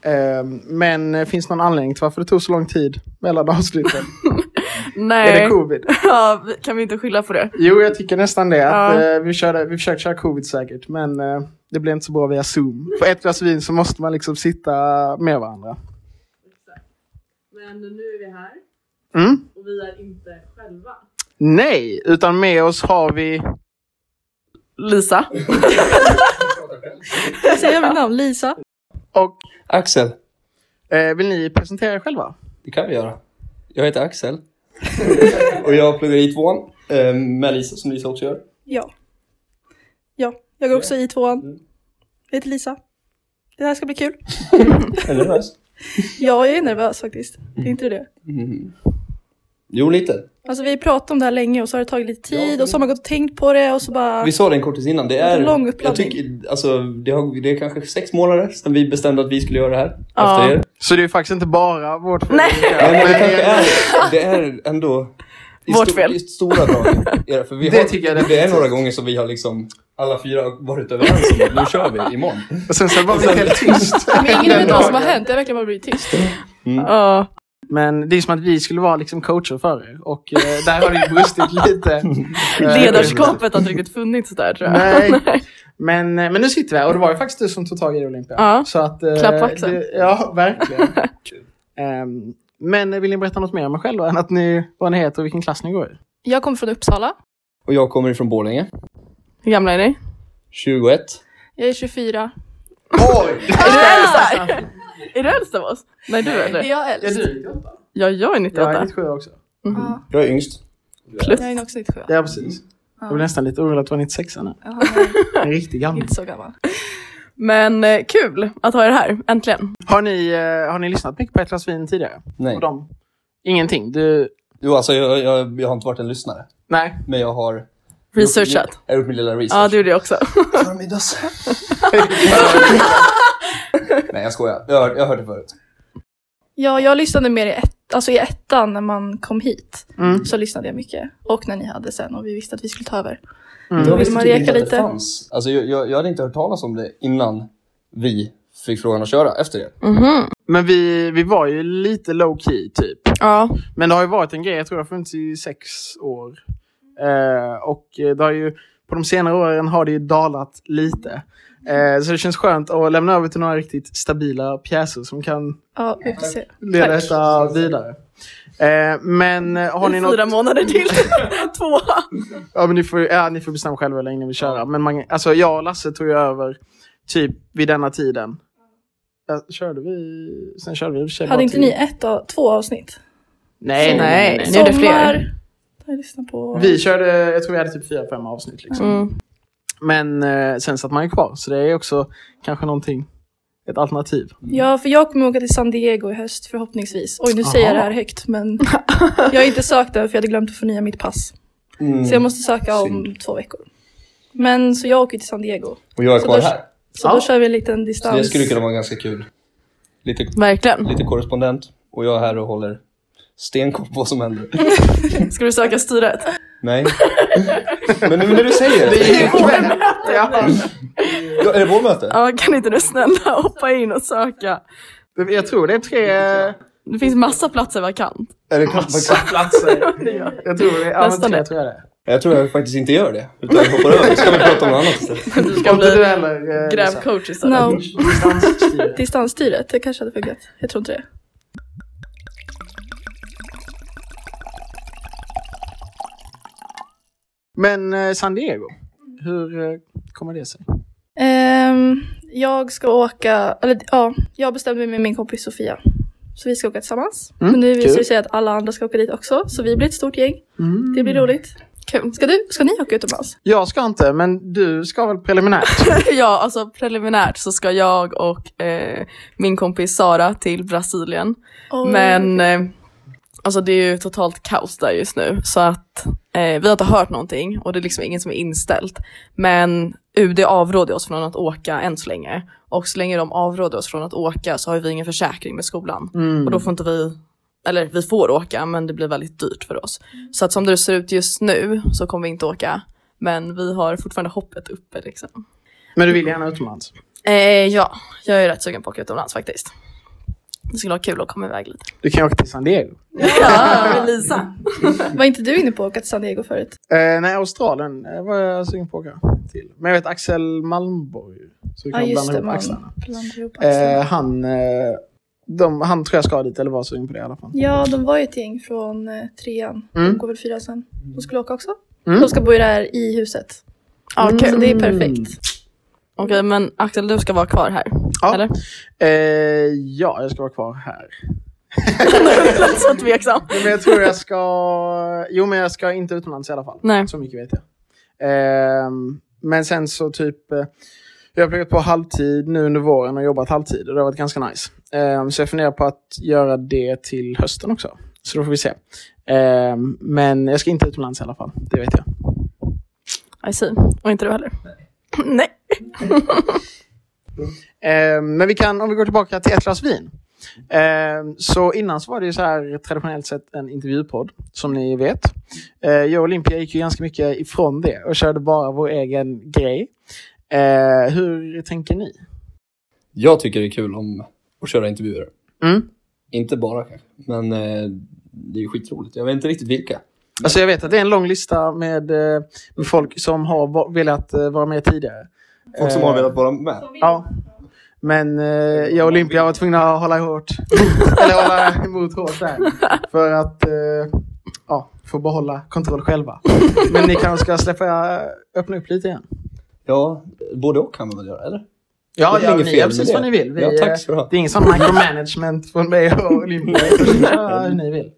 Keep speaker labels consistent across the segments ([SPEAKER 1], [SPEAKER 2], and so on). [SPEAKER 1] Eh, Men finns någon anledning till varför det tog så lång tid mellan avsluten?
[SPEAKER 2] Nej.
[SPEAKER 1] Är det covid?
[SPEAKER 2] Ja, vi- kan vi inte skylla på det?
[SPEAKER 1] Jo, jag tycker nästan det. Att,
[SPEAKER 2] Ja.
[SPEAKER 1] eh, vi, körde, vi försökte köra covid säkert, men eh, det blev inte så bra via Zoom. På ett glas vin så måste man liksom sitta med varandra.
[SPEAKER 2] Men nu är vi här
[SPEAKER 1] Mm.
[SPEAKER 2] och vi är inte själva.
[SPEAKER 1] Nej, utan med oss har vi...
[SPEAKER 2] Lisa.
[SPEAKER 3] Säger jag mitt namn? Lisa?
[SPEAKER 1] Och
[SPEAKER 4] Axel,
[SPEAKER 1] eh, vill ni presentera er själva?
[SPEAKER 4] det kan vi göra. Jag heter Axel och jag pluggar i tvåan eh, med Lisa som Lisa också gör.
[SPEAKER 3] Ja. Ja, jag går också i tvåan. Jag heter Lisa. Det här ska bli kul.
[SPEAKER 4] Är du nervös?
[SPEAKER 3] Ja, jag är nervös faktiskt. Är inte du det?
[SPEAKER 4] Mm. Jo, lite.
[SPEAKER 3] Alltså vi pratade om det här länge och så har det tagit lite tid och så har man gått och tänkt på det och så bara...
[SPEAKER 4] Vi sa det en kortis innan. Det
[SPEAKER 3] Det var
[SPEAKER 4] är,
[SPEAKER 3] en lång
[SPEAKER 4] jag
[SPEAKER 3] uppladdning.
[SPEAKER 4] tycker, alltså, det, har, det är kanske sex månader sedan vi bestämde att vi skulle göra det här.
[SPEAKER 2] Ja.
[SPEAKER 4] Efter er.
[SPEAKER 1] Så det är ju faktiskt inte bara vårt fel. eh,
[SPEAKER 2] Nej.
[SPEAKER 4] Ja, men det kanske är, det är ändå i
[SPEAKER 2] Vårt
[SPEAKER 4] sto-
[SPEAKER 2] fel.
[SPEAKER 4] I stora drag. era- För vi
[SPEAKER 1] Det
[SPEAKER 4] har,
[SPEAKER 1] tycker jag
[SPEAKER 4] det är några gånger som vi har liksom alla fyra har varit överens om att nu kör vi imorgon.
[SPEAKER 1] Och sen så var vi helt tyst.
[SPEAKER 5] Men ingen
[SPEAKER 1] den
[SPEAKER 5] vet vad som har
[SPEAKER 1] dagen.
[SPEAKER 5] hänt, jag har verkligen bara blivit tyst.
[SPEAKER 2] Ja.
[SPEAKER 1] Men det är som att vi skulle vara liksom coacher för er. Och eh, där har det ju brustit lite. Eh,
[SPEAKER 2] Ledarskapet har inte riktigt funnits där tror jag.
[SPEAKER 1] Nej. Men, eh, men nu sitter vi här och det var ju faktiskt du som tog tag i det Olympia.
[SPEAKER 2] Ja.
[SPEAKER 1] Så att, eh,
[SPEAKER 2] Klapp på axeln.
[SPEAKER 1] det- Ja, verkligen. Ehm, men eh, vill ni berätta något mer om er själva än att ni, vad ni heter och vilken klass ni går i?
[SPEAKER 5] Jag kommer från Uppsala.
[SPEAKER 4] Och jag kommer ifrån Borlänge,
[SPEAKER 2] Hur gamla är ni?
[SPEAKER 4] 21.
[SPEAKER 5] Jag är 24.
[SPEAKER 2] Är du äldst här? Är du äldst av oss? Nej, du är
[SPEAKER 5] Är
[SPEAKER 2] det.
[SPEAKER 5] jag äldst?
[SPEAKER 2] Ja, jag är
[SPEAKER 1] Jag är
[SPEAKER 2] 98.
[SPEAKER 1] 97 också.
[SPEAKER 5] Ja,
[SPEAKER 4] Jag är yngst.
[SPEAKER 2] Plus.
[SPEAKER 5] jag är nog också 97.
[SPEAKER 1] Ja, precis. Jag blev nästan lite orolig att det var 96 nu.
[SPEAKER 5] Jaha, nej,
[SPEAKER 1] En riktig gammal.
[SPEAKER 5] inte så gammal.
[SPEAKER 2] Men eh, kul att ha er här, äntligen.
[SPEAKER 1] Har ni, eh, har ni lyssnat mycket på Ett glas vin tidigare?
[SPEAKER 4] Nej.
[SPEAKER 1] Och de? Ingenting? Du?
[SPEAKER 4] Jo, alltså jag, jag, jag har inte varit en lyssnare.
[SPEAKER 1] Nej.
[SPEAKER 4] Men jag har...
[SPEAKER 2] Researchat.
[SPEAKER 4] Jag har gjort min lilla research.
[SPEAKER 2] Ja, du gjorde det också.
[SPEAKER 4] Förmiddags. Nej, jag skojar. Jag, hör- jag hörde förut.
[SPEAKER 3] Ja, jag lyssnade mer i, ett, alltså i ettan när man kom hit.
[SPEAKER 1] Mm.
[SPEAKER 3] Så lyssnade jag mycket. Och när ni hade sen och vi visste att vi skulle ta över.
[SPEAKER 1] Mm.
[SPEAKER 4] Jag
[SPEAKER 3] Vill
[SPEAKER 4] visste
[SPEAKER 3] man
[SPEAKER 4] typ
[SPEAKER 3] reka
[SPEAKER 4] inte att
[SPEAKER 3] lite?
[SPEAKER 4] det fanns. Alltså, jag, jag, jag hade inte hört talas om det innan vi fick frågan att köra efter det.
[SPEAKER 2] Mhm.
[SPEAKER 1] Men vi, vi var ju lite low key typ.
[SPEAKER 2] Ja.
[SPEAKER 1] Men det har ju varit en grej, jag tror det har funnits i sex år. Eh, och eh, det har ju, på de senare åren har det ju dalat lite. Eh, så det känns skönt att lämna över till några riktigt stabila pjäser som kan
[SPEAKER 3] Ja, vi får se.
[SPEAKER 1] leda
[SPEAKER 3] Tack.
[SPEAKER 1] detta vidare. Eh, men eh, har ni något...
[SPEAKER 2] Fyra månader till. Två.
[SPEAKER 1] Ja, men ni, får, ja, ni får bestämma själva hur länge ni vill köra. Men man, alltså, jag och Lasse tog ju över typ vid denna tiden. Ja, körde vi... Sen körde vi i och för sig bara
[SPEAKER 3] Hade inte
[SPEAKER 1] till-
[SPEAKER 3] ni ett, av- två avsnitt?
[SPEAKER 1] Nej, nej, nej. nej.
[SPEAKER 2] Nu är det fler.
[SPEAKER 3] Sommar. Jag lyssnar på...
[SPEAKER 1] Vi körde, jag tror vi hade typ fyra, fem avsnitt. Liksom.
[SPEAKER 2] Mm.
[SPEAKER 1] Men eh, sen satt man ju kvar, så det är också kanske någonting, ett alternativ.
[SPEAKER 3] Ja, för jag kommer åka till San Diego i höst förhoppningsvis. Oj, nu säger jag det här högt, men jag har inte sökt än för jag hade glömt att förnya mitt pass. Så jag
[SPEAKER 4] Mm.
[SPEAKER 3] måste söka om två veckor. Men så jag åker till San Diego.
[SPEAKER 4] Och jag är
[SPEAKER 3] Så
[SPEAKER 4] kvar
[SPEAKER 3] då-
[SPEAKER 4] här.
[SPEAKER 3] Så
[SPEAKER 1] Ja.
[SPEAKER 3] då kör vi en liten
[SPEAKER 4] Så det
[SPEAKER 3] distans.
[SPEAKER 4] skulle kunna vara ganska kul. Lite,
[SPEAKER 2] Verkligen.
[SPEAKER 4] lite korrespondent. Och jag är här och håller stenkoll på vad som händer.
[SPEAKER 2] Ska du söka styret?
[SPEAKER 4] Nej. Men nu när du säger det.
[SPEAKER 1] Ja.
[SPEAKER 4] Ja, är det vårmöte?
[SPEAKER 2] Ja, kan inte du snälla hoppa in och söka?
[SPEAKER 1] Jag tror det är tre
[SPEAKER 2] Det finns massa platser vakant.
[SPEAKER 4] Är det kanske-
[SPEAKER 1] platser. Jag tror det, ja, men
[SPEAKER 2] Nästan
[SPEAKER 1] tre
[SPEAKER 2] det.
[SPEAKER 1] tror jag det är.
[SPEAKER 4] Jag tror jag faktiskt inte gör det. Utan jag hoppar över. Ska vi prata om något annat istället?
[SPEAKER 2] Du ska
[SPEAKER 1] Om inte du
[SPEAKER 2] bli
[SPEAKER 1] heller. eh, Lisa.
[SPEAKER 2] grävcoach istället.
[SPEAKER 3] No,
[SPEAKER 1] Distansstyre.
[SPEAKER 3] distansstyret, det kanske hade funkat. Jag tror inte det.
[SPEAKER 1] Men eh, San Diego, hur eh, kommer det sig?
[SPEAKER 3] Ehm, jag ska åka, eller ja, jag bestämde mig med min kompis Sofia. Så vi ska åka tillsammans.
[SPEAKER 1] Mm,
[SPEAKER 3] Men nu visar
[SPEAKER 1] kul. Mm.
[SPEAKER 3] det sig att alla andra ska åka dit också, så vi blir ett stort gäng. Det blir roligt.
[SPEAKER 2] Kul.
[SPEAKER 3] Ska, du, ska ni åka utomlands?
[SPEAKER 1] Jag ska inte, men du ska väl preliminärt?
[SPEAKER 2] Ja, alltså preliminärt så ska jag och eh, min kompis Sara till Brasilien.
[SPEAKER 3] Oj.
[SPEAKER 2] Men eh, alltså det är ju totalt kaos där just nu. Så att eh, vi har inte hört någonting och det är liksom ingen som är inställt. Men UD avråder oss från att åka än så länge. Och så länge de avråder oss från att åka så har vi ingen försäkring med skolan. Och då får inte vi, eller vi får åka men det blir väldigt dyrt för oss. Så att som det ser ut just nu så kommer vi inte åka. Men vi har fortfarande hoppet uppe liksom.
[SPEAKER 1] Men du vill gärna utomlands?
[SPEAKER 2] Eh, ja, jag är rätt sugen på att åka utomlands faktiskt. Det skulle vara kul att komma iväg lite.
[SPEAKER 1] Du kan ju åka till San Diego.
[SPEAKER 2] Ja, Lisa.
[SPEAKER 3] Var inte du inne på att åka till San Diego förut?
[SPEAKER 1] Eh, nej, Australien eh, var jag sugen på att åka till. Men jag vet Axel Malmborg. Så vi kan
[SPEAKER 3] Ja, just
[SPEAKER 1] blanda
[SPEAKER 3] det,
[SPEAKER 1] ihop
[SPEAKER 3] man-
[SPEAKER 1] axlarna.
[SPEAKER 3] Blandade ihop axlarna.
[SPEAKER 1] Eh, han, eh, de, han tror jag ska dit, eller var sugen på det i alla fall.
[SPEAKER 3] Ja, de var ju ett gäng från eh, trean.
[SPEAKER 1] Mm.
[SPEAKER 3] De går väl fyran sen. De skulle åka också.
[SPEAKER 1] Mm.
[SPEAKER 3] De ska bo där i huset.
[SPEAKER 2] Ja, kul.
[SPEAKER 3] Så det är
[SPEAKER 1] Mm.
[SPEAKER 3] perfekt.
[SPEAKER 2] Okej, men Axel du ska vara kvar här.
[SPEAKER 1] Ja.
[SPEAKER 2] Eller?
[SPEAKER 1] Eh, ja, jag ska vara kvar här.
[SPEAKER 2] Du lät så tveksam.
[SPEAKER 1] Jo, Men jag tror jag ska... Jo, men jag ska inte utomlands i alla fall.
[SPEAKER 2] Nej.
[SPEAKER 1] Så mycket vet jag. Ehm, men sen så typ... eh, Jag har pluggat på halvtid nu under våren och jobbat halvtid och det har varit ganska nice. Ehm, så jag funderar på att göra det till hösten också. Så då får vi se. Ehm, men jag ska inte utomlands i alla fall, det vet jag.
[SPEAKER 2] I see. Och inte du heller. Nej.
[SPEAKER 1] Ehm, men vi kan, om vi går tillbaka till ett glas vin. Ehm, så innan så var det ju så här traditionellt sett en intervjupodd, som ni vet. Eh, jag och Olympia gick ju ganska mycket ifrån det och körde bara vår egen grej. Eh, hur tänker ni?
[SPEAKER 4] Jag tycker det är kul om att köra intervjuer.
[SPEAKER 1] Mm.
[SPEAKER 4] Inte bara kanske, men eh, det är ju skitroligt. Jag vet inte riktigt vilka.
[SPEAKER 1] Alltså jag vet att det är en lång lista med, eh, med folk som har va- velat eh, vara med tidigare.
[SPEAKER 4] Folk som
[SPEAKER 1] Eh,
[SPEAKER 4] har velat vara med.
[SPEAKER 1] Ja. Men eh, jag och Olympia var tvungna att hålla hårt. Eller hålla emot hårt där. För att eh, ja, få behålla kontroll själva. Men ni kanske ska släppa, eh, öppna upp lite igen.
[SPEAKER 4] Ja, både och kan man väl göra, eller?
[SPEAKER 1] Ja,
[SPEAKER 4] Det är
[SPEAKER 1] ja
[SPEAKER 4] inget
[SPEAKER 1] ni
[SPEAKER 4] fel
[SPEAKER 1] gör
[SPEAKER 4] med
[SPEAKER 1] precis
[SPEAKER 4] det.
[SPEAKER 1] vad ni vill. Vi,
[SPEAKER 4] Ja,
[SPEAKER 1] eh,
[SPEAKER 4] tack så bra.
[SPEAKER 1] Det är ingen sån micromanagement från mig och Olympia. Ja, hur ni vill.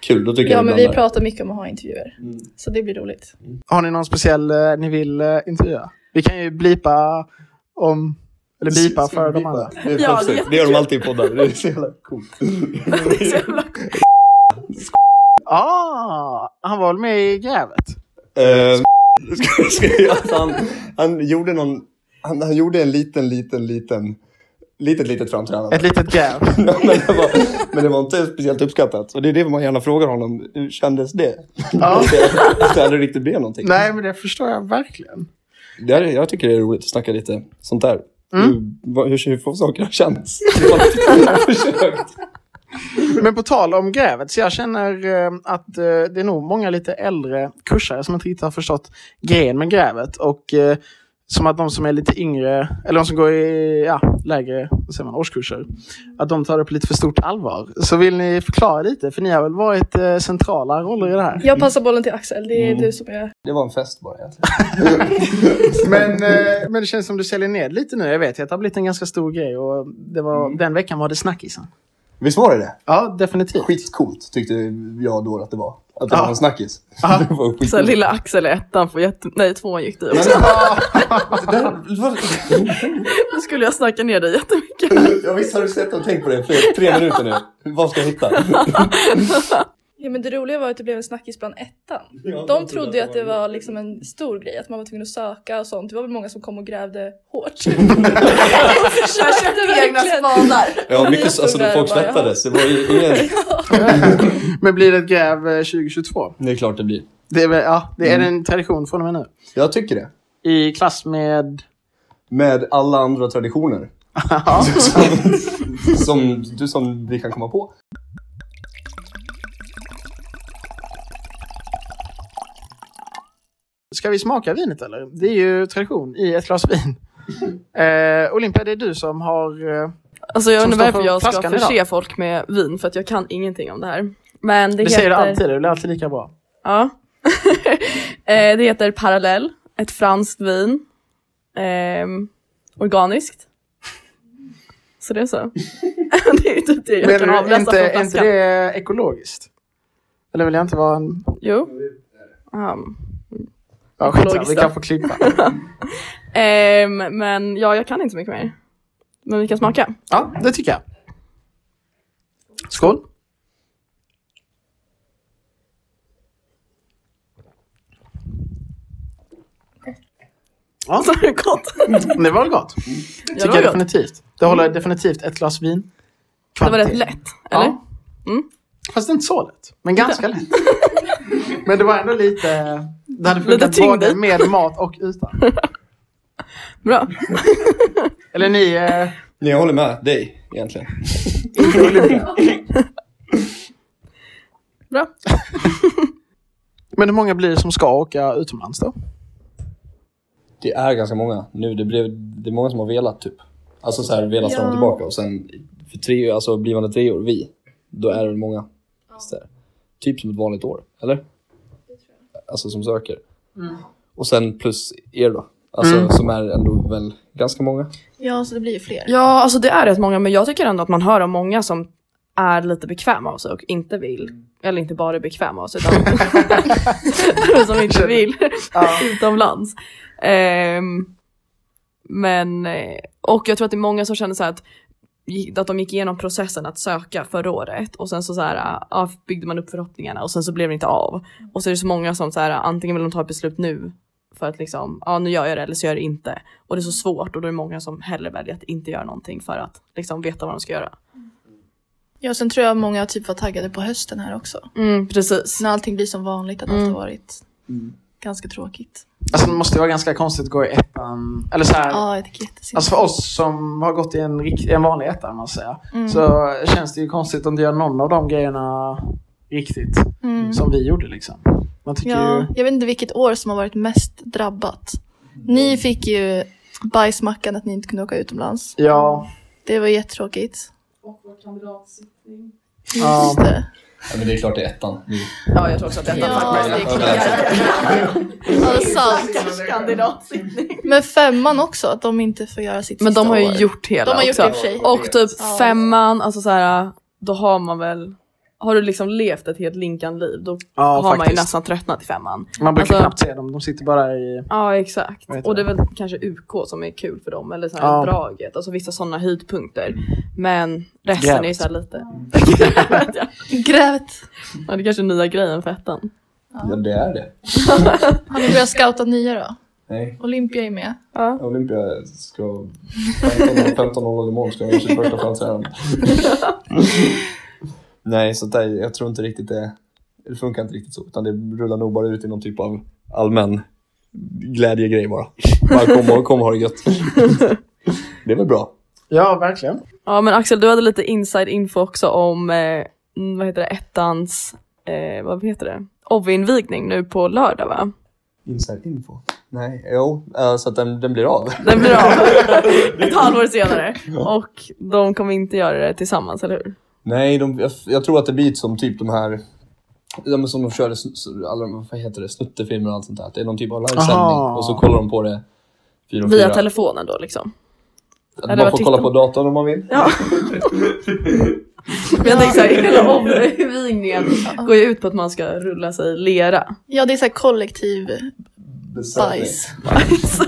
[SPEAKER 4] Kul, då tycker
[SPEAKER 3] Ja,
[SPEAKER 4] jag
[SPEAKER 3] men vi
[SPEAKER 4] blandar.
[SPEAKER 3] pratar mycket om att ha intervjuer.
[SPEAKER 1] Mm.
[SPEAKER 3] Så det blir roligt.
[SPEAKER 1] Har ni någon speciell eh, ni vill eh, intervjua? Vi kan ju blipa om... Eller bipa
[SPEAKER 4] Ska vi
[SPEAKER 1] för de
[SPEAKER 4] bipa?
[SPEAKER 1] andra.
[SPEAKER 4] Det, är
[SPEAKER 2] Ja,
[SPEAKER 4] perfekt.
[SPEAKER 2] det är
[SPEAKER 4] det gör de alltid i poddar. Det är så jävla coolt.
[SPEAKER 2] Det är så jävla coolt.
[SPEAKER 1] Ah, han var väl med i grävet?
[SPEAKER 4] Eh, ska- ska- alltså, han, han gjorde någon... Han, han gjorde en liten, liten, liten... Litet, litet framträdande.
[SPEAKER 1] Ett litet gräv.
[SPEAKER 4] men, det var, men det var inte speciellt uppskattat. Och det är det man gärna frågar honom. Hur kändes det?
[SPEAKER 1] Ja.
[SPEAKER 4] Att det aldrig riktigt blev någonting.
[SPEAKER 1] Nej, men det förstår jag verkligen.
[SPEAKER 4] Det här, är- jag tycker det är roligt att snacka lite sånt där.
[SPEAKER 1] Mm.
[SPEAKER 4] Hur, vad- hur, hur får saker att kännas? Försökt.
[SPEAKER 1] Men på tal om grävet, så jag känner eh, att eh, det är nog många lite äldre kursare som inte riktigt har förstått grejen med grävet. Och eh, som att de som är lite yngre, eller de som går i ja, lägre vad säger man, årskurser, att de tar det på lite för stort allvar. Så vill ni förklara lite? För ni har väl varit eh, centrala roller i det här?
[SPEAKER 3] Jag passar bollen till Axel. Det är
[SPEAKER 1] Mm.
[SPEAKER 3] du som är...
[SPEAKER 4] Det var en fest bara egentligen.
[SPEAKER 1] Men, eh, men det känns som du säljer ner lite nu. Jag vet ju att det har blivit en ganska stor grej och det var, den veckan var det snackisen.
[SPEAKER 4] Visst var det det?
[SPEAKER 1] Mm. Ja, definitivt.
[SPEAKER 4] Skitcoolt tyckte jag då att det var. Att det
[SPEAKER 1] Ja.
[SPEAKER 4] var en snackis.
[SPEAKER 1] Ja.
[SPEAKER 4] Det var
[SPEAKER 2] Så här,
[SPEAKER 4] skitcoolt.
[SPEAKER 2] lilla Axel är ettan för jätte... Nej, tvåan gick du
[SPEAKER 4] Men-
[SPEAKER 2] också.
[SPEAKER 4] Det där var-
[SPEAKER 2] Nu skulle jag snacka ner dig jättemycket.
[SPEAKER 4] Jag visst har du sett och tänkt på det för tre minuter nu. Vad ska jag hitta?
[SPEAKER 3] Ja, men det roliga var att det blev en snackis bland ettan. De trodde ju att det var liksom en stor grej, att man var tvungen att söka och sånt. Det var väl många som kom och grävde hårt.
[SPEAKER 2] Jag köpte egna
[SPEAKER 3] verkligen.
[SPEAKER 2] spadar.
[SPEAKER 4] Ja, mycket så- alltså
[SPEAKER 3] Jag
[SPEAKER 4] då
[SPEAKER 3] stod
[SPEAKER 4] folk
[SPEAKER 3] där och bara,
[SPEAKER 4] svettades. Det var ju ingen...
[SPEAKER 1] Men blir det ett gräv eh, 2022?
[SPEAKER 4] Det är klart det blir.
[SPEAKER 1] Det är, väl- ja, det är
[SPEAKER 2] Mm.
[SPEAKER 1] en tradition från och med nu.
[SPEAKER 4] Jag tycker det.
[SPEAKER 1] I klass med...
[SPEAKER 4] Med alla andra traditioner. som, som, du- som vi kan komma på.
[SPEAKER 1] Ska vi smaka vinet eller? Det är ju tradition i ett glas vin. Eh, Olympia, det är du som har... Eh,
[SPEAKER 2] Alltså jag
[SPEAKER 1] Som
[SPEAKER 2] undrar
[SPEAKER 1] står
[SPEAKER 2] varför
[SPEAKER 1] på
[SPEAKER 2] jag ska
[SPEAKER 1] flaskan idag.
[SPEAKER 2] förse folk med vin för att jag kan ingenting om det här. Men det,
[SPEAKER 1] det
[SPEAKER 2] heter...
[SPEAKER 1] säger du alltid, det blir alltid lika bra.
[SPEAKER 2] Ja. Eh, det heter Parallell, ett franskt vin. Ehm, organiskt. Så det är så. det är ju typ det jag kan
[SPEAKER 1] Menar du,
[SPEAKER 2] avläsa
[SPEAKER 1] inte,
[SPEAKER 2] från
[SPEAKER 1] inte
[SPEAKER 2] flaskan.
[SPEAKER 1] det är ekologiskt? Eller vill jag inte vara en...
[SPEAKER 2] Jo. Ehm,
[SPEAKER 1] Ja, skitsamma,
[SPEAKER 2] Ekologiskt
[SPEAKER 1] vi
[SPEAKER 2] då.
[SPEAKER 1] kan få klippa.
[SPEAKER 2] ehm, men ja, jag kan inte så mycket mer. Men vi kan smaka.
[SPEAKER 1] Ja, det tycker jag. Skål. Ja,
[SPEAKER 2] Så det är gott.
[SPEAKER 1] det var väl gott.
[SPEAKER 2] Ja, det,
[SPEAKER 1] Tycker jag
[SPEAKER 2] var gott.
[SPEAKER 1] definitivt. Det håller definitivt ett glas vin.
[SPEAKER 2] det var rätt
[SPEAKER 1] Kvalitet.
[SPEAKER 2] lätt, eller? Mm.
[SPEAKER 1] Ja. Fast inte så lätt. Men ganska lätt. Men det var ändå lite... Det hade funkat
[SPEAKER 2] tyngd
[SPEAKER 1] både
[SPEAKER 2] i.
[SPEAKER 1] med mat och utan.
[SPEAKER 2] Bra.
[SPEAKER 1] Eller ni, eh,
[SPEAKER 4] Nej, jag håller med dig egentligen.
[SPEAKER 1] Men hur många blir det som ska åka utomlands då?
[SPEAKER 4] Det är ganska många nu. Det, blev, det är många som har velat typ. Alltså så här velat fram och
[SPEAKER 3] Ja.
[SPEAKER 4] tillbaka och sen för tre, alltså blivande treor, vi, då är det många. Så här, typ som ett vanligt år, eller? Alltså som söker. Och sen plus er då, alltså
[SPEAKER 1] Mm.
[SPEAKER 4] som är ändå väl ganska många.
[SPEAKER 5] Ja, så det blir ju fler.
[SPEAKER 2] Ja, alltså det är rätt många, men jag tycker ändå att man hör om många som är lite bekväma av sig och inte vill, eller inte bara är bekväma av sig, utan som inte vill utomlands. Ehm, men, eh, och jag tror att det är många som känner så här att att de gick igenom processen att söka förra året och sen så, så här, ja, byggde man upp förhoppningarna och sen så blev det inte av. Och så är det så många som så här, ah, antingen vill de ta ett beslut nu för att liksom, ja nu gör jag det eller så gör jag det inte. Och det är så svårt och då är det många som hellre väljer att inte göra någonting för att liksom veta vad de ska göra.
[SPEAKER 5] Ja, sen tror jag många typ var taggade på hösten här också.
[SPEAKER 2] Mm, precis.
[SPEAKER 5] När allting blir som vanligt, att
[SPEAKER 2] Mm.
[SPEAKER 5] allt har varit ganska tråkigt.
[SPEAKER 1] Alltså det måste vara ganska konstigt att gå i ettan. Eller så här,
[SPEAKER 5] Ja, jag tycker jättesynd.
[SPEAKER 1] Alltså för oss som har gått i en, rikt- en vanlig etta, man säger,
[SPEAKER 2] Mm.
[SPEAKER 1] så känns det ju konstigt om du gör någon av de grejerna riktigt.
[SPEAKER 5] Mm.
[SPEAKER 1] Som vi gjorde liksom. Man tycker ju...
[SPEAKER 5] Ja, jag vet inte vilket år som har varit mest drabbat. Ni fick ju bajsmackan att ni inte kunde åka utomlands.
[SPEAKER 1] Ja,
[SPEAKER 5] Det var jättetråkigt.
[SPEAKER 1] ja.
[SPEAKER 5] Just det.
[SPEAKER 4] Ja, men det är klart det är ettan.
[SPEAKER 2] Ja jag tror också att detta
[SPEAKER 5] Ja,
[SPEAKER 2] faktiskt
[SPEAKER 5] det är Ja, det är sant.
[SPEAKER 2] kandidatsittning.
[SPEAKER 5] Men femman också, att de inte får göra sitt
[SPEAKER 2] Men de
[SPEAKER 5] sista
[SPEAKER 2] har
[SPEAKER 5] år.
[SPEAKER 2] ju gjort hela
[SPEAKER 5] De har gjort
[SPEAKER 2] också.
[SPEAKER 5] det i och för sig.
[SPEAKER 2] Och typ
[SPEAKER 5] Ja.
[SPEAKER 2] femman, alltså så här, då har man väl Har du liksom levt ett helt Linkan-liv då har
[SPEAKER 1] ja
[SPEAKER 2] man ju
[SPEAKER 1] faktiskt.
[SPEAKER 2] nästan tröttnat i femman.
[SPEAKER 1] Man brukar
[SPEAKER 2] alltså-
[SPEAKER 1] knappt se dem, de sitter bara i...
[SPEAKER 2] Ja exakt.
[SPEAKER 1] Vad heter
[SPEAKER 2] Och det är väl kanske UK som är kul för dem eller så här
[SPEAKER 1] Ja.
[SPEAKER 2] draget, alltså vissa sådana höjdpunkter. Men resten är ju
[SPEAKER 1] Grävet.
[SPEAKER 2] så här lite ja.
[SPEAKER 5] Grävet.
[SPEAKER 2] Ja, det är kanske är nya grejen för ettan.
[SPEAKER 4] Ja, det är det.
[SPEAKER 5] Har ni börjat scouta nya då?
[SPEAKER 4] Nej,
[SPEAKER 5] Olympia är med.
[SPEAKER 4] Olympia ska... 15.00 15 imorgon ska jag göra sitt första framträdande. Nej, så där, jag tror inte riktigt det... Det funkar inte riktigt så, utan det rullar nog bara ut i någon typ av allmän glädjegrej bara. Bara kom och, kom och ha det gött. Det är väl bra.
[SPEAKER 1] Ja, verkligen.
[SPEAKER 2] Ja men Axel, du hade lite inside info också om, eh, mm, vad heter det, ettans, eh, vad heter det, OV-invigning nu på lördag va?
[SPEAKER 4] Inside info. Nej, jo, eh, så att den, den blir av.
[SPEAKER 2] Den blir av ett halvår senare. Och de kommer inte göra det tillsammans, eller hur?
[SPEAKER 4] Nej, de, jag, jag tror att det blir som typ de här ja, men som de körde, sn- sn- alla, de- vad heter det, snuttefilmer och allt sånt där. Att Det är någon typ av livesändning
[SPEAKER 1] Aha.
[SPEAKER 4] och så kollar de på det fyra och
[SPEAKER 2] Via
[SPEAKER 4] fyra.
[SPEAKER 2] telefonen då liksom.
[SPEAKER 4] Att
[SPEAKER 2] eller
[SPEAKER 4] man
[SPEAKER 2] vad
[SPEAKER 4] får
[SPEAKER 2] tyckte
[SPEAKER 4] kolla
[SPEAKER 2] de?
[SPEAKER 4] på datorn om man vill.
[SPEAKER 2] Ja. Men jag tänkte såhär, hela omvigningen går ju ut på att man ska rulla sig i lera.
[SPEAKER 5] Ja, det är så här kollektiv bajs.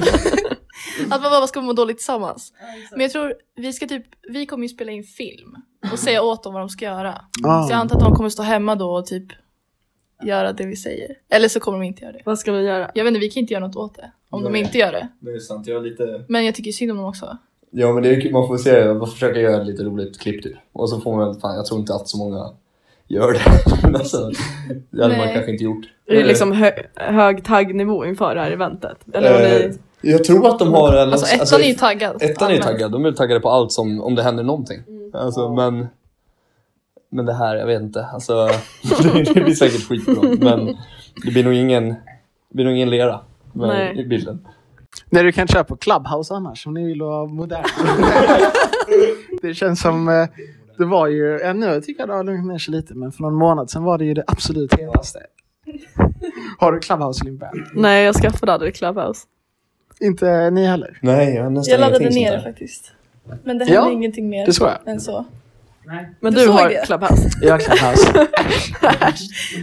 [SPEAKER 5] att man bara ska må dåligt tillsammans. Men jag tror vi ska typ, vi kommer ju spela in film och säga åt dem vad de ska göra.
[SPEAKER 1] Ja.
[SPEAKER 5] Så jag antar att de kommer stå hemma då och typ göra det vi säger. Eller så kommer de inte göra det.
[SPEAKER 2] Vad ska vi göra?
[SPEAKER 5] Jag vet inte, vi kan inte göra något åt det. Om de
[SPEAKER 4] Nej. Alltså,
[SPEAKER 5] inte gör det.
[SPEAKER 4] Det är sant, jag är lite...
[SPEAKER 5] Men jag tycker synd om dem också.
[SPEAKER 4] Ja men det är, kul, man får se, man får försöka göra ett lite roligt klipp typ. Och så får man väl, fan jag tror inte att så många gör det. Men alltså, det hade man
[SPEAKER 5] Nej.
[SPEAKER 4] kanske inte gjort.
[SPEAKER 2] Är
[SPEAKER 3] Eh.
[SPEAKER 2] det liksom hö- hög taggnivå inför det här eventet? Eller har
[SPEAKER 3] Eh.
[SPEAKER 2] ni...
[SPEAKER 4] Eh, Jag tror att de har...
[SPEAKER 5] Alltså ettan är ju taggad.
[SPEAKER 4] Ettan är ju
[SPEAKER 5] allmänt.
[SPEAKER 4] taggad. De är taggade på allt som, om det händer någonting.
[SPEAKER 3] Mm.
[SPEAKER 4] Alltså, men, men det här, jag vet inte. Alltså, det, det blir säkert skitbra. Men det blir nog ingen, det blir nog ingen lera med
[SPEAKER 2] Nej.
[SPEAKER 4] i bilden.
[SPEAKER 1] Nej, du kan köra på Clubhouse annars om ni vill vara moderna. det känns som... eh, Det var ju... Ja, nu tycker jag det har lugnat ner sig lite, men för någon månad sedan var det ju det absolut hetaste. Har du Clubhouse, Limpä?
[SPEAKER 2] Nej, jag skaffade aldrig Clubhouse.
[SPEAKER 1] Inte ni heller?
[SPEAKER 4] Nej, jag har nästan
[SPEAKER 3] Jag laddade
[SPEAKER 4] ingenting
[SPEAKER 3] ner
[SPEAKER 4] sånt
[SPEAKER 3] det
[SPEAKER 4] där.
[SPEAKER 3] faktiskt. Men det
[SPEAKER 1] Ja,
[SPEAKER 3] hände ingenting mer
[SPEAKER 1] det såg jag.
[SPEAKER 3] än så.
[SPEAKER 2] Men
[SPEAKER 3] Du
[SPEAKER 2] du
[SPEAKER 3] såg
[SPEAKER 2] har
[SPEAKER 3] det?
[SPEAKER 2] Clubhouse.
[SPEAKER 1] Jag har Clubhouse.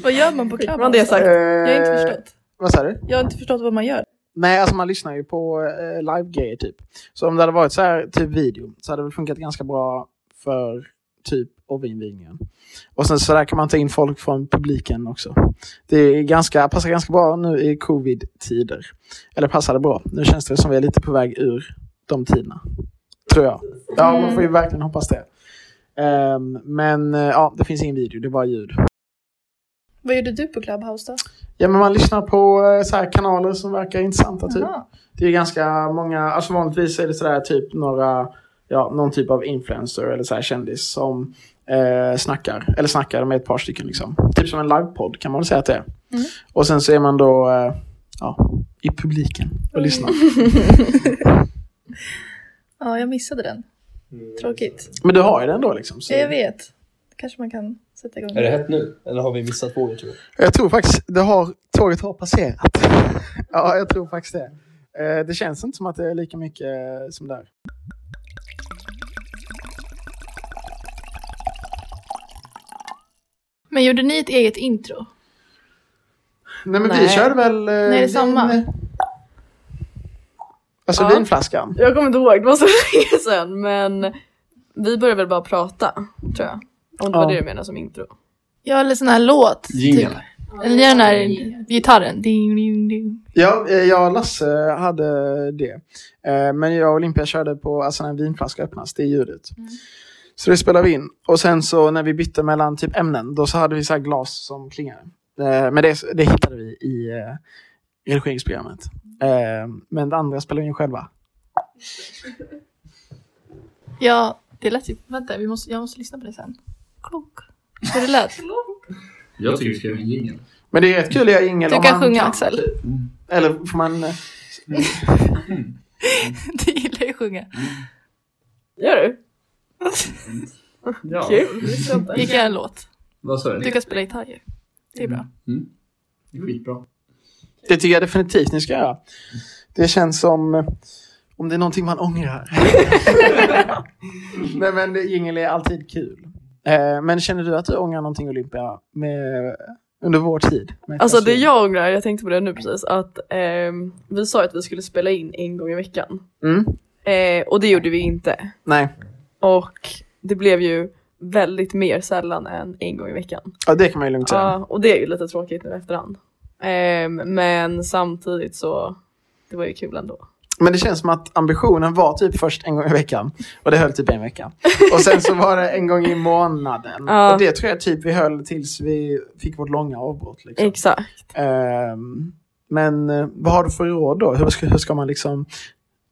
[SPEAKER 3] Vad gör man på
[SPEAKER 2] Skit,
[SPEAKER 3] Clubhouse?
[SPEAKER 2] men det är sagt.
[SPEAKER 3] Jag har inte förstått.
[SPEAKER 1] Eh, Vad sa du?
[SPEAKER 3] Jag har inte förstått vad man gör.
[SPEAKER 1] Nej, alltså man lyssnar ju på eh, live-grejer typ. Så om det hade varit så här typ video så hade det väl funkat ganska bra för typ OV-invigningen. Och sen så där kan man ta in folk från publiken också. Det är ganska, passar ganska bra nu i covid-tider. Eller passar det bra? Nu känns det som vi är lite på väg ur de tiderna. Tror jag. Ja, man får ju verkligen hoppas det. Ehm, men eh, ja, det finns ingen video, det är bara ljud.
[SPEAKER 3] Vad gjorde du på Clubhouse då?
[SPEAKER 1] Ja, men man lyssnar på eh, så här kanaler som verkar intressanta typ.
[SPEAKER 3] Jaha.
[SPEAKER 1] Det är ganska många, alltså vanligtvis är det sådär typ några ja, någon typ av influencer eller så här kändis som eh, snackar, eller snackar med ett par stycken. Liksom. Typ som en livepodd kan man väl säga att det är. Och sen så är man då eh, ja, i publiken och lyssnar.
[SPEAKER 3] Ja, jag missade den. Tråkigt.
[SPEAKER 1] Men du har ju den då liksom. Så.
[SPEAKER 3] Ja, jag vet. Kanske man kan sätta igång.
[SPEAKER 4] Är det hett nu? Eller har vi missat vågen tror jag?
[SPEAKER 1] Jag tror faktiskt det har, tåget har passerat. ja, jag tror faktiskt det. Eh, Det känns inte som att det är lika mycket eh, som där.
[SPEAKER 5] Men gjorde ni ett eget intro?
[SPEAKER 1] Nej, men vi
[SPEAKER 2] Nej.
[SPEAKER 1] körde väl... eh, Nej,
[SPEAKER 5] det är samma.
[SPEAKER 1] Alltså
[SPEAKER 2] Ja.
[SPEAKER 1] vinflaskan.
[SPEAKER 2] Jag kommer inte ihåg, det var så länge sedan men vi började väl bara prata tror jag. Om det
[SPEAKER 1] Ja.
[SPEAKER 2] var det du menade som intro.
[SPEAKER 5] Ja, eller sån här låt. typ.
[SPEAKER 4] Jingel.
[SPEAKER 5] Eller den här gitarren. Ding, ding, ding.
[SPEAKER 1] Ja, eh, jag och Lasse hade det. Eh, Men jag och Olympia körde på, alltså när en vinflaska öppnas, det är ljudet.
[SPEAKER 5] Mm.
[SPEAKER 1] Så det spelade vi in. Och sen så när vi bytte mellan typ ämnen, då så hade vi så här glas som klingade. Eh, Men det, det hittade vi i eh, redigeringsprogrammet.
[SPEAKER 5] Mm.
[SPEAKER 1] Eh, Men det andra spelade vi in själva.
[SPEAKER 5] Ja, det lät ju... Vänta, vi måste, jag måste lyssna på det sen. Klok. Hur det lät.
[SPEAKER 4] Jag tycker vi ska göra en jingel.
[SPEAKER 1] Men det är rätt kul att göra jingel
[SPEAKER 5] Du
[SPEAKER 1] om
[SPEAKER 5] kan
[SPEAKER 1] man
[SPEAKER 5] sjunga Axel.
[SPEAKER 1] Eller får man... eh,
[SPEAKER 5] Du gillar ju att sjunga.
[SPEAKER 2] Gör du?
[SPEAKER 4] Ja.
[SPEAKER 2] Kul.
[SPEAKER 5] Vi kan göra en låt.
[SPEAKER 4] Vad sa
[SPEAKER 5] Du kan spela gitarr ju. Det är bra.
[SPEAKER 4] Det är skitbra.
[SPEAKER 1] Det tycker jag definitivt ni ska göra. Det känns som eh, om det är någonting man ångrar. Nej men det- jingel är alltid kul. Eh, Men känner du att du ångrar någonting Olympia med, under vår tid? Med
[SPEAKER 2] Alltså det
[SPEAKER 1] Tassel?
[SPEAKER 2] jag ångrar, jag tänkte på det nu precis, att ehm, vi sa ju att vi skulle spela in en gång i veckan.
[SPEAKER 1] Mm,
[SPEAKER 2] Eh, och det gjorde vi inte.
[SPEAKER 1] nej,
[SPEAKER 2] Och det blev ju väldigt mer sällan än en gång i veckan.
[SPEAKER 1] ja, det kan man ju lugnt säga.
[SPEAKER 2] Ja, och det är ju lite tråkigt nu i efterhand. Ehm, men samtidigt så, det var ju kul ändå.
[SPEAKER 1] Men det känns som att ambitionen var typ först en gång i veckan. Och det höll typ en vecka. Och sen så var det en gång i månaden.
[SPEAKER 2] Ja.
[SPEAKER 1] Och det tror jag typ vi höll tills vi fick vårt långa avbrott. Liksom.
[SPEAKER 2] Exakt.
[SPEAKER 1] Ehm, men eh, vad har du för råd då? Hur ska, hur ska man liksom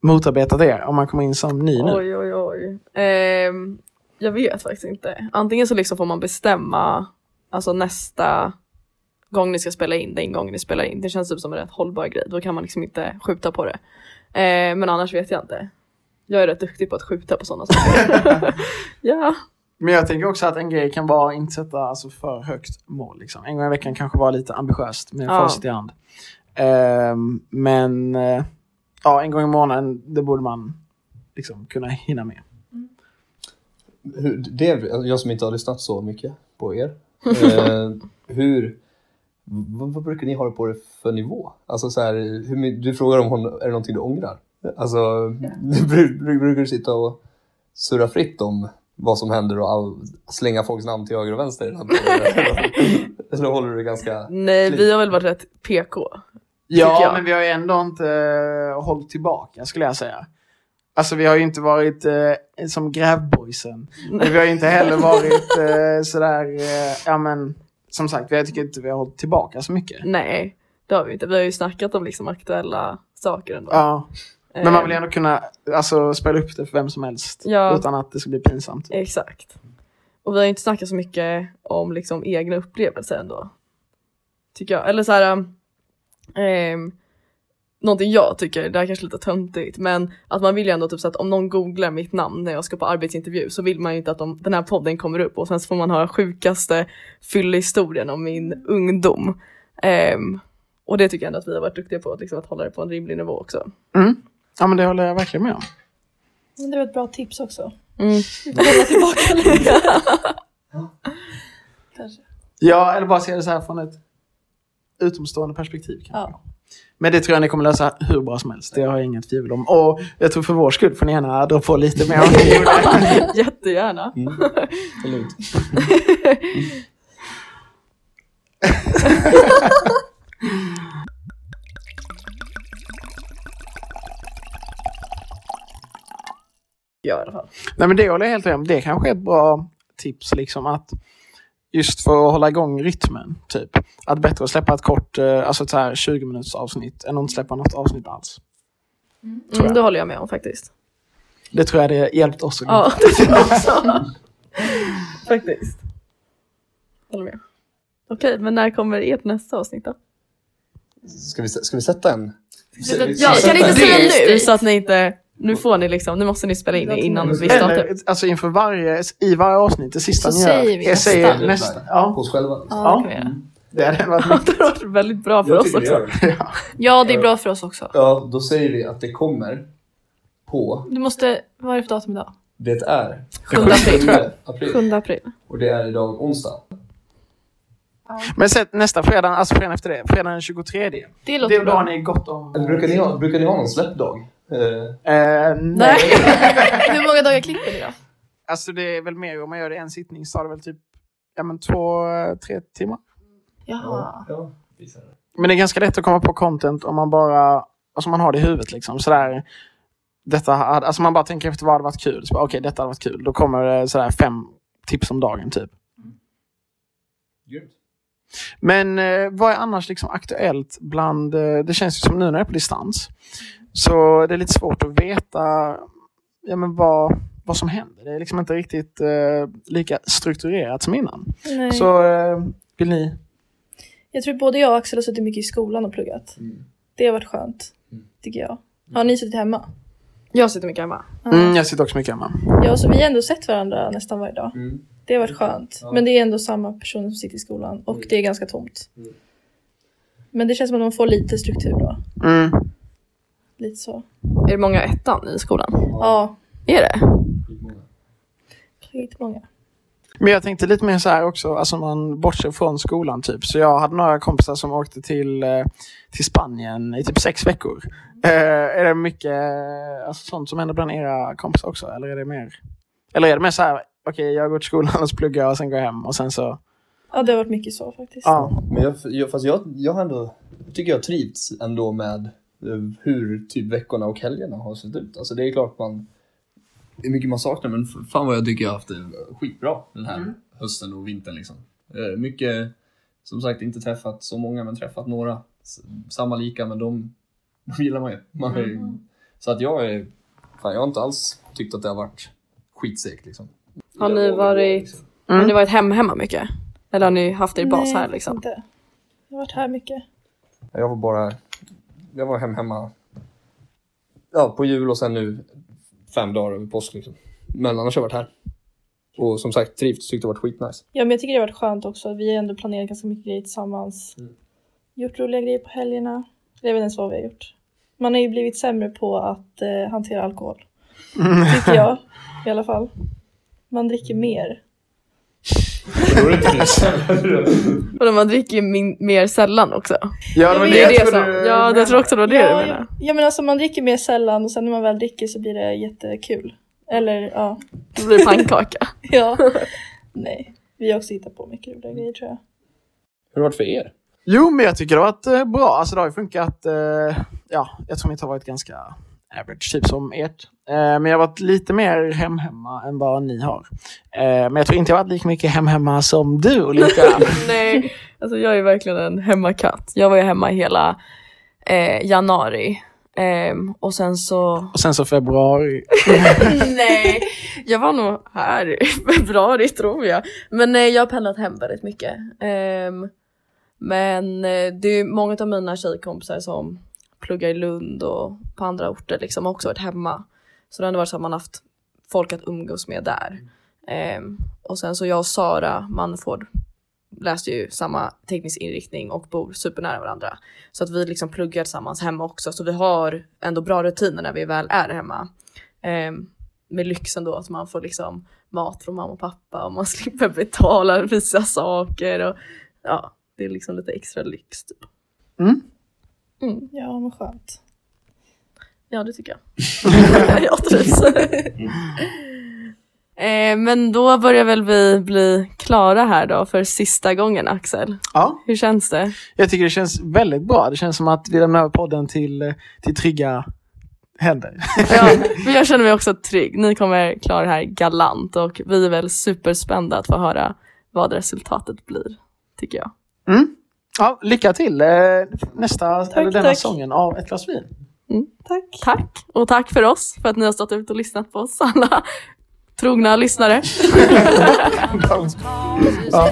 [SPEAKER 1] motarbeta det om man kommer in som ny nu?
[SPEAKER 2] Oj, oj, oj. Ehm, jag vet faktiskt inte. Antingen så liksom får man bestämma alltså nästa gång ni ska spela in, den gång ni spelar in. Det känns typ som en rätt hållbar grej. Då kan man liksom inte skjuta på det. Ehm, men annars vet jag inte. Jag är rätt duktig på att skjuta på sådana saker. ja.
[SPEAKER 1] Men jag tänker också att en grej kan vara att inte sätta alltså, för högt mål. Liksom. En gång i veckan kanske vara lite ambitiöst med
[SPEAKER 2] Ja.
[SPEAKER 1] facit i hand. Ehm, men eh, ja, en gång i månaden, det borde man liksom kunna hinna med.
[SPEAKER 4] Hur, det, alltså, jag som inte har lyssnat så mycket på er. Eh, hur, vad, vad brukar ni ha det på det för nivå? Alltså så här, hur, my- du frågar om hon, är det någonting du ångrar? Alltså, bru- bru- brukar du sitta och surra fritt om vad som händer och all, slänga folks namn till höger och vänster? i den här podden? Eller håller du det ganska...
[SPEAKER 2] Nej, vi har väl varit rätt PK. Tycker
[SPEAKER 1] Ja,
[SPEAKER 2] jag.
[SPEAKER 1] men vi har ju ändå inte eh, hållit tillbaka skulle jag säga. Alltså vi har ju inte varit eh, som grävboysen. Men vi har ju inte heller varit eh, sådär, eh, ja men som sagt, jag tycker inte vi har hållit tillbaka så mycket.
[SPEAKER 2] Nej, det har vi inte. Vi har ju snackat om liksom aktuella saker ändå.
[SPEAKER 1] Ja, men man vill ju
[SPEAKER 2] Ehm,
[SPEAKER 1] ändå kunna alltså, spela upp det för vem som helst
[SPEAKER 2] Ja.
[SPEAKER 1] utan att det ska bli pinsamt.
[SPEAKER 2] Exakt. Och vi har ju inte snackat så mycket om liksom egna upplevelser ändå. Tycker jag. Eller så här. Um, någonting jag tycker, det här kanske är lite töntigt, men att man vill ju ändå typ så att om någon googlar mitt namn när jag ska på arbetsintervju så vill man ju inte att de, den här podden kommer upp och sen så får man höra sjukaste fyllehistorien om min ungdom. Ehm, och det tycker jag ändå att vi har varit duktiga på, att, liksom, att hålla det på en rimlig nivå också.
[SPEAKER 1] Mm. Ja, men det håller jag verkligen med om.
[SPEAKER 3] Men det var ett bra tips också.
[SPEAKER 2] Mm.
[SPEAKER 3] Hålla tillbaka lite. Kanske.
[SPEAKER 1] Ja, eller bara se det så här från ett utomstående perspektiv kanske.
[SPEAKER 3] Ja.
[SPEAKER 1] Men det tror jag ni kommer lösa hur bra som helst. Det har jag inget tvivel om. Och jag tror för vår skull får ni gärna dra på lite mer. om ni gjorde.
[SPEAKER 2] Jättegärna.
[SPEAKER 4] Absolut.
[SPEAKER 2] Ja, i alla fall.
[SPEAKER 1] Nej, men det håller jag helt med om. Det kanske är ett bra tips liksom att just för att hålla igång rytmen. Typ. Att bättre att släppa ett kort, eh, alltså ett så här 20 minuters avsnitt än att inte släppa något avsnitt alls. Tror
[SPEAKER 2] Mm,
[SPEAKER 1] jag.
[SPEAKER 2] det håller jag med om faktiskt.
[SPEAKER 1] Det tror jag det hjälpt oss. att gå.
[SPEAKER 2] Ja, det tror jag också. Faktiskt. Håller med. Okej, men när kommer ert nästa avsnitt då?
[SPEAKER 4] Ska vi, ska vi sätta en?
[SPEAKER 5] Ja,
[SPEAKER 2] Kan ni
[SPEAKER 5] Det är
[SPEAKER 2] inte säga nu
[SPEAKER 5] styrt.
[SPEAKER 2] så att ni inte, nu får ni liksom, nu måste ni spela in det innan vi startar.
[SPEAKER 1] Eller, alltså inför varje, i varje avsnitt, det sista
[SPEAKER 5] Så
[SPEAKER 1] ni
[SPEAKER 5] säger
[SPEAKER 1] gör.
[SPEAKER 5] vi
[SPEAKER 1] jag
[SPEAKER 5] nästa.
[SPEAKER 1] säger nästa.
[SPEAKER 4] På
[SPEAKER 1] Ja,
[SPEAKER 4] oss själva? liksom.
[SPEAKER 5] Ja, det kan
[SPEAKER 1] Ja.
[SPEAKER 5] vi göra.
[SPEAKER 1] det hade varit
[SPEAKER 2] Det har varit väldigt bra för oss också.
[SPEAKER 5] Ja, det är bra för oss också.
[SPEAKER 4] Ja, då säger vi att det kommer på,
[SPEAKER 5] Du måste, vad är det för datum idag?
[SPEAKER 4] det är
[SPEAKER 2] 7 april.
[SPEAKER 4] 7 april
[SPEAKER 5] 7 april.
[SPEAKER 4] och det är idag onsdag.
[SPEAKER 1] Men sätt nästa fredag, alltså fredagen efter det, fredagen den 23.
[SPEAKER 5] Det
[SPEAKER 1] Det
[SPEAKER 5] låter
[SPEAKER 1] är då har
[SPEAKER 5] bra.
[SPEAKER 1] ni gott om...
[SPEAKER 4] Eller brukar ni ha, brukar ni ha någon släppdag? Eh,
[SPEAKER 1] Eh, nej.
[SPEAKER 5] Nej. Hur många dagar klipper ni då?
[SPEAKER 1] Alltså det är väl mer om man gör det i en sittning så tar det väl typ ja, men två, tre timmar.
[SPEAKER 5] Jaha.
[SPEAKER 4] ja. visar det.
[SPEAKER 1] Men det är ganska lätt att komma på content om man bara, alltså man har det i huvudet liksom. Sådär, detta hade, alltså man bara tänker efter vad hade varit kul. Så bara, Okej, detta hade varit kul. Då kommer det sådär fem tips om dagen typ.
[SPEAKER 4] Grymt.
[SPEAKER 1] Men eh, vad är annars liksom aktuellt bland... Eh, det känns ju som nu när det är på distans. Så det är lite svårt att veta ja, men vad, vad som händer. Det är liksom inte riktigt eh, lika strukturerat som innan.
[SPEAKER 3] Nej.
[SPEAKER 1] Så eh, vill ni...
[SPEAKER 3] Jag tror både jag och Axel har suttit mycket i skolan och pluggat.
[SPEAKER 4] Mm.
[SPEAKER 3] Det har varit skönt, tycker jag. Har ni suttit hemma?
[SPEAKER 2] Jag sitter mycket hemma.
[SPEAKER 3] Ja.
[SPEAKER 1] Mm, jag sitter också mycket hemma.
[SPEAKER 3] Ja, så vi har ändå sett varandra nästan varje dag.
[SPEAKER 4] Mm.
[SPEAKER 3] Det har varit skönt.
[SPEAKER 4] Ja.
[SPEAKER 3] Men det är ändå samma personer som sitter i skolan och det är ganska tomt.
[SPEAKER 4] Mm.
[SPEAKER 3] Men det känns som att man får lite struktur då.
[SPEAKER 1] Mm.
[SPEAKER 3] Lite så.
[SPEAKER 2] Är det många ettan i skolan?
[SPEAKER 3] Ja,
[SPEAKER 2] Är det?
[SPEAKER 4] skitmånga.
[SPEAKER 3] lite många.
[SPEAKER 1] Men jag tänkte lite mer så här också, alltså man bortser från skolan typ. Så jag hade några kompisar som åkte till, eh, till Spanien i typ sex veckor. Eh, är det mycket eh, alltså, sånt som händer bland era kompisar också? Eller är det mer, eller är det mer så här, okej jag går till skolan och så pluggar jag och sen går jag hem och sen så...
[SPEAKER 3] Ja, det har varit mycket så faktiskt.
[SPEAKER 1] Ja.
[SPEAKER 4] Men jag, jag, fast jag, jag har ändå, jag tycker jag trivts ändå med eh, hur typ veckorna och helgerna har sett ut. Alltså det är klart man, det är mycket man saknar men f- fan vad jag tycker jag har haft det skitbra den här hösten och vintern liksom. Eh, Mycket, som sagt inte träffat så många men träffat några. S- Samma lika men de, de gillar man ju. Man är, ju- Så att jag är, fan jag har inte alls tyckt att det har varit skitsegt liksom.
[SPEAKER 2] Har ni varit,
[SPEAKER 1] Mm.
[SPEAKER 2] har ni varit hem hemma mycket? Eller har ni haft er bas
[SPEAKER 3] Nej,
[SPEAKER 2] här liksom?
[SPEAKER 3] Inte. Jag har varit här mycket.
[SPEAKER 4] Jag var bara, jag var hem hemma ja, på jul och sen nu fem dagar över påsk liksom. Men annars har jag varit här. Och som sagt trivts, tyckte det varit skitnice.
[SPEAKER 3] Ja, men jag tycker det har varit skönt också. Vi har ändå planerat ganska mycket grejer tillsammans.
[SPEAKER 4] Mm.
[SPEAKER 3] Gjort roliga grejer på helgerna. Jag vet inte ens vad vi har gjort. Man har ju blivit sämre på att eh, hantera alkohol.
[SPEAKER 2] Mm.
[SPEAKER 3] Tycker jag i alla fall. Man dricker mer.
[SPEAKER 2] Vadå, man dricker ju min- mer sällan också.
[SPEAKER 1] Ja,
[SPEAKER 3] men
[SPEAKER 2] Det är
[SPEAKER 3] jag
[SPEAKER 2] det som, ja jag tror också det var det du
[SPEAKER 3] ja,
[SPEAKER 2] menade.
[SPEAKER 3] ja, men alltså man dricker mer sällan och sen när man väl dricker så blir det jättekul. Eller ja.
[SPEAKER 2] Då blir det pannkaka.
[SPEAKER 3] ja. Nej. Vi har också hittat på mycket roliga grejer tror jag.
[SPEAKER 4] Hur har det varit för er?
[SPEAKER 1] Jo, men jag tycker det har varit eh, bra. Alltså det har ju funkat. Eh, ja, jag tror mitt har varit ganska average, typ som ert. Eh, men jag har varit lite mer hem-hemma än vad ni har. Eh, men jag tror inte jag har varit lika mycket hem-hemma som du, Ulrika.
[SPEAKER 2] Nej, alltså jag är verkligen en hemmakatt. Jag var ju hemma hela eh, januari. Ehm, och sen så...
[SPEAKER 1] Och sen så februari.
[SPEAKER 2] Nej, jag var nog här i februari tror jag. Men nej, jag har pendlat hem väldigt mycket. Ehm, men eh, det är ju många av mina tjejkompisar som pluggar i Lund och på andra orter liksom har också varit hemma. Så det har ändå varit så att man haft folk att umgås med där. Ehm, och sen så jag och Sara Manford läste ju samma teknisk inriktning och bor supernära varandra. Så att vi liksom pluggar tillsammans hemma också. Så vi har ändå bra rutiner när vi väl är hemma. Ehm, med lyxen då att man får liksom mat från mamma och pappa och man slipper betala vissa saker. Och, ja, det är liksom lite extra lyx. Typ.
[SPEAKER 1] Mm.
[SPEAKER 2] Mm,
[SPEAKER 3] Ja, men skönt.
[SPEAKER 2] ja, det tycker typ. jag. jag trivs. Eh, men då börjar väl vi bli klara här då för sista gången Axel.
[SPEAKER 1] Ja,
[SPEAKER 2] Hur känns det?
[SPEAKER 1] jag tycker det känns väldigt bra. Det känns som att vi lämnar över podden till, eh, till trygga händer.
[SPEAKER 2] Ja, men jag känner mig också trygg. Ni kommer klara det här galant och vi är väl superspända att få höra vad resultatet blir, tycker jag.
[SPEAKER 1] Mm. Ja, lycka till eh, nästa, eller denna
[SPEAKER 3] tack.
[SPEAKER 1] sången av Ett glas vin.
[SPEAKER 2] Tack. Tack. Och tack för oss för att ni har stått ut och lyssnat på oss alla trogna lyssnare.
[SPEAKER 6] Ja.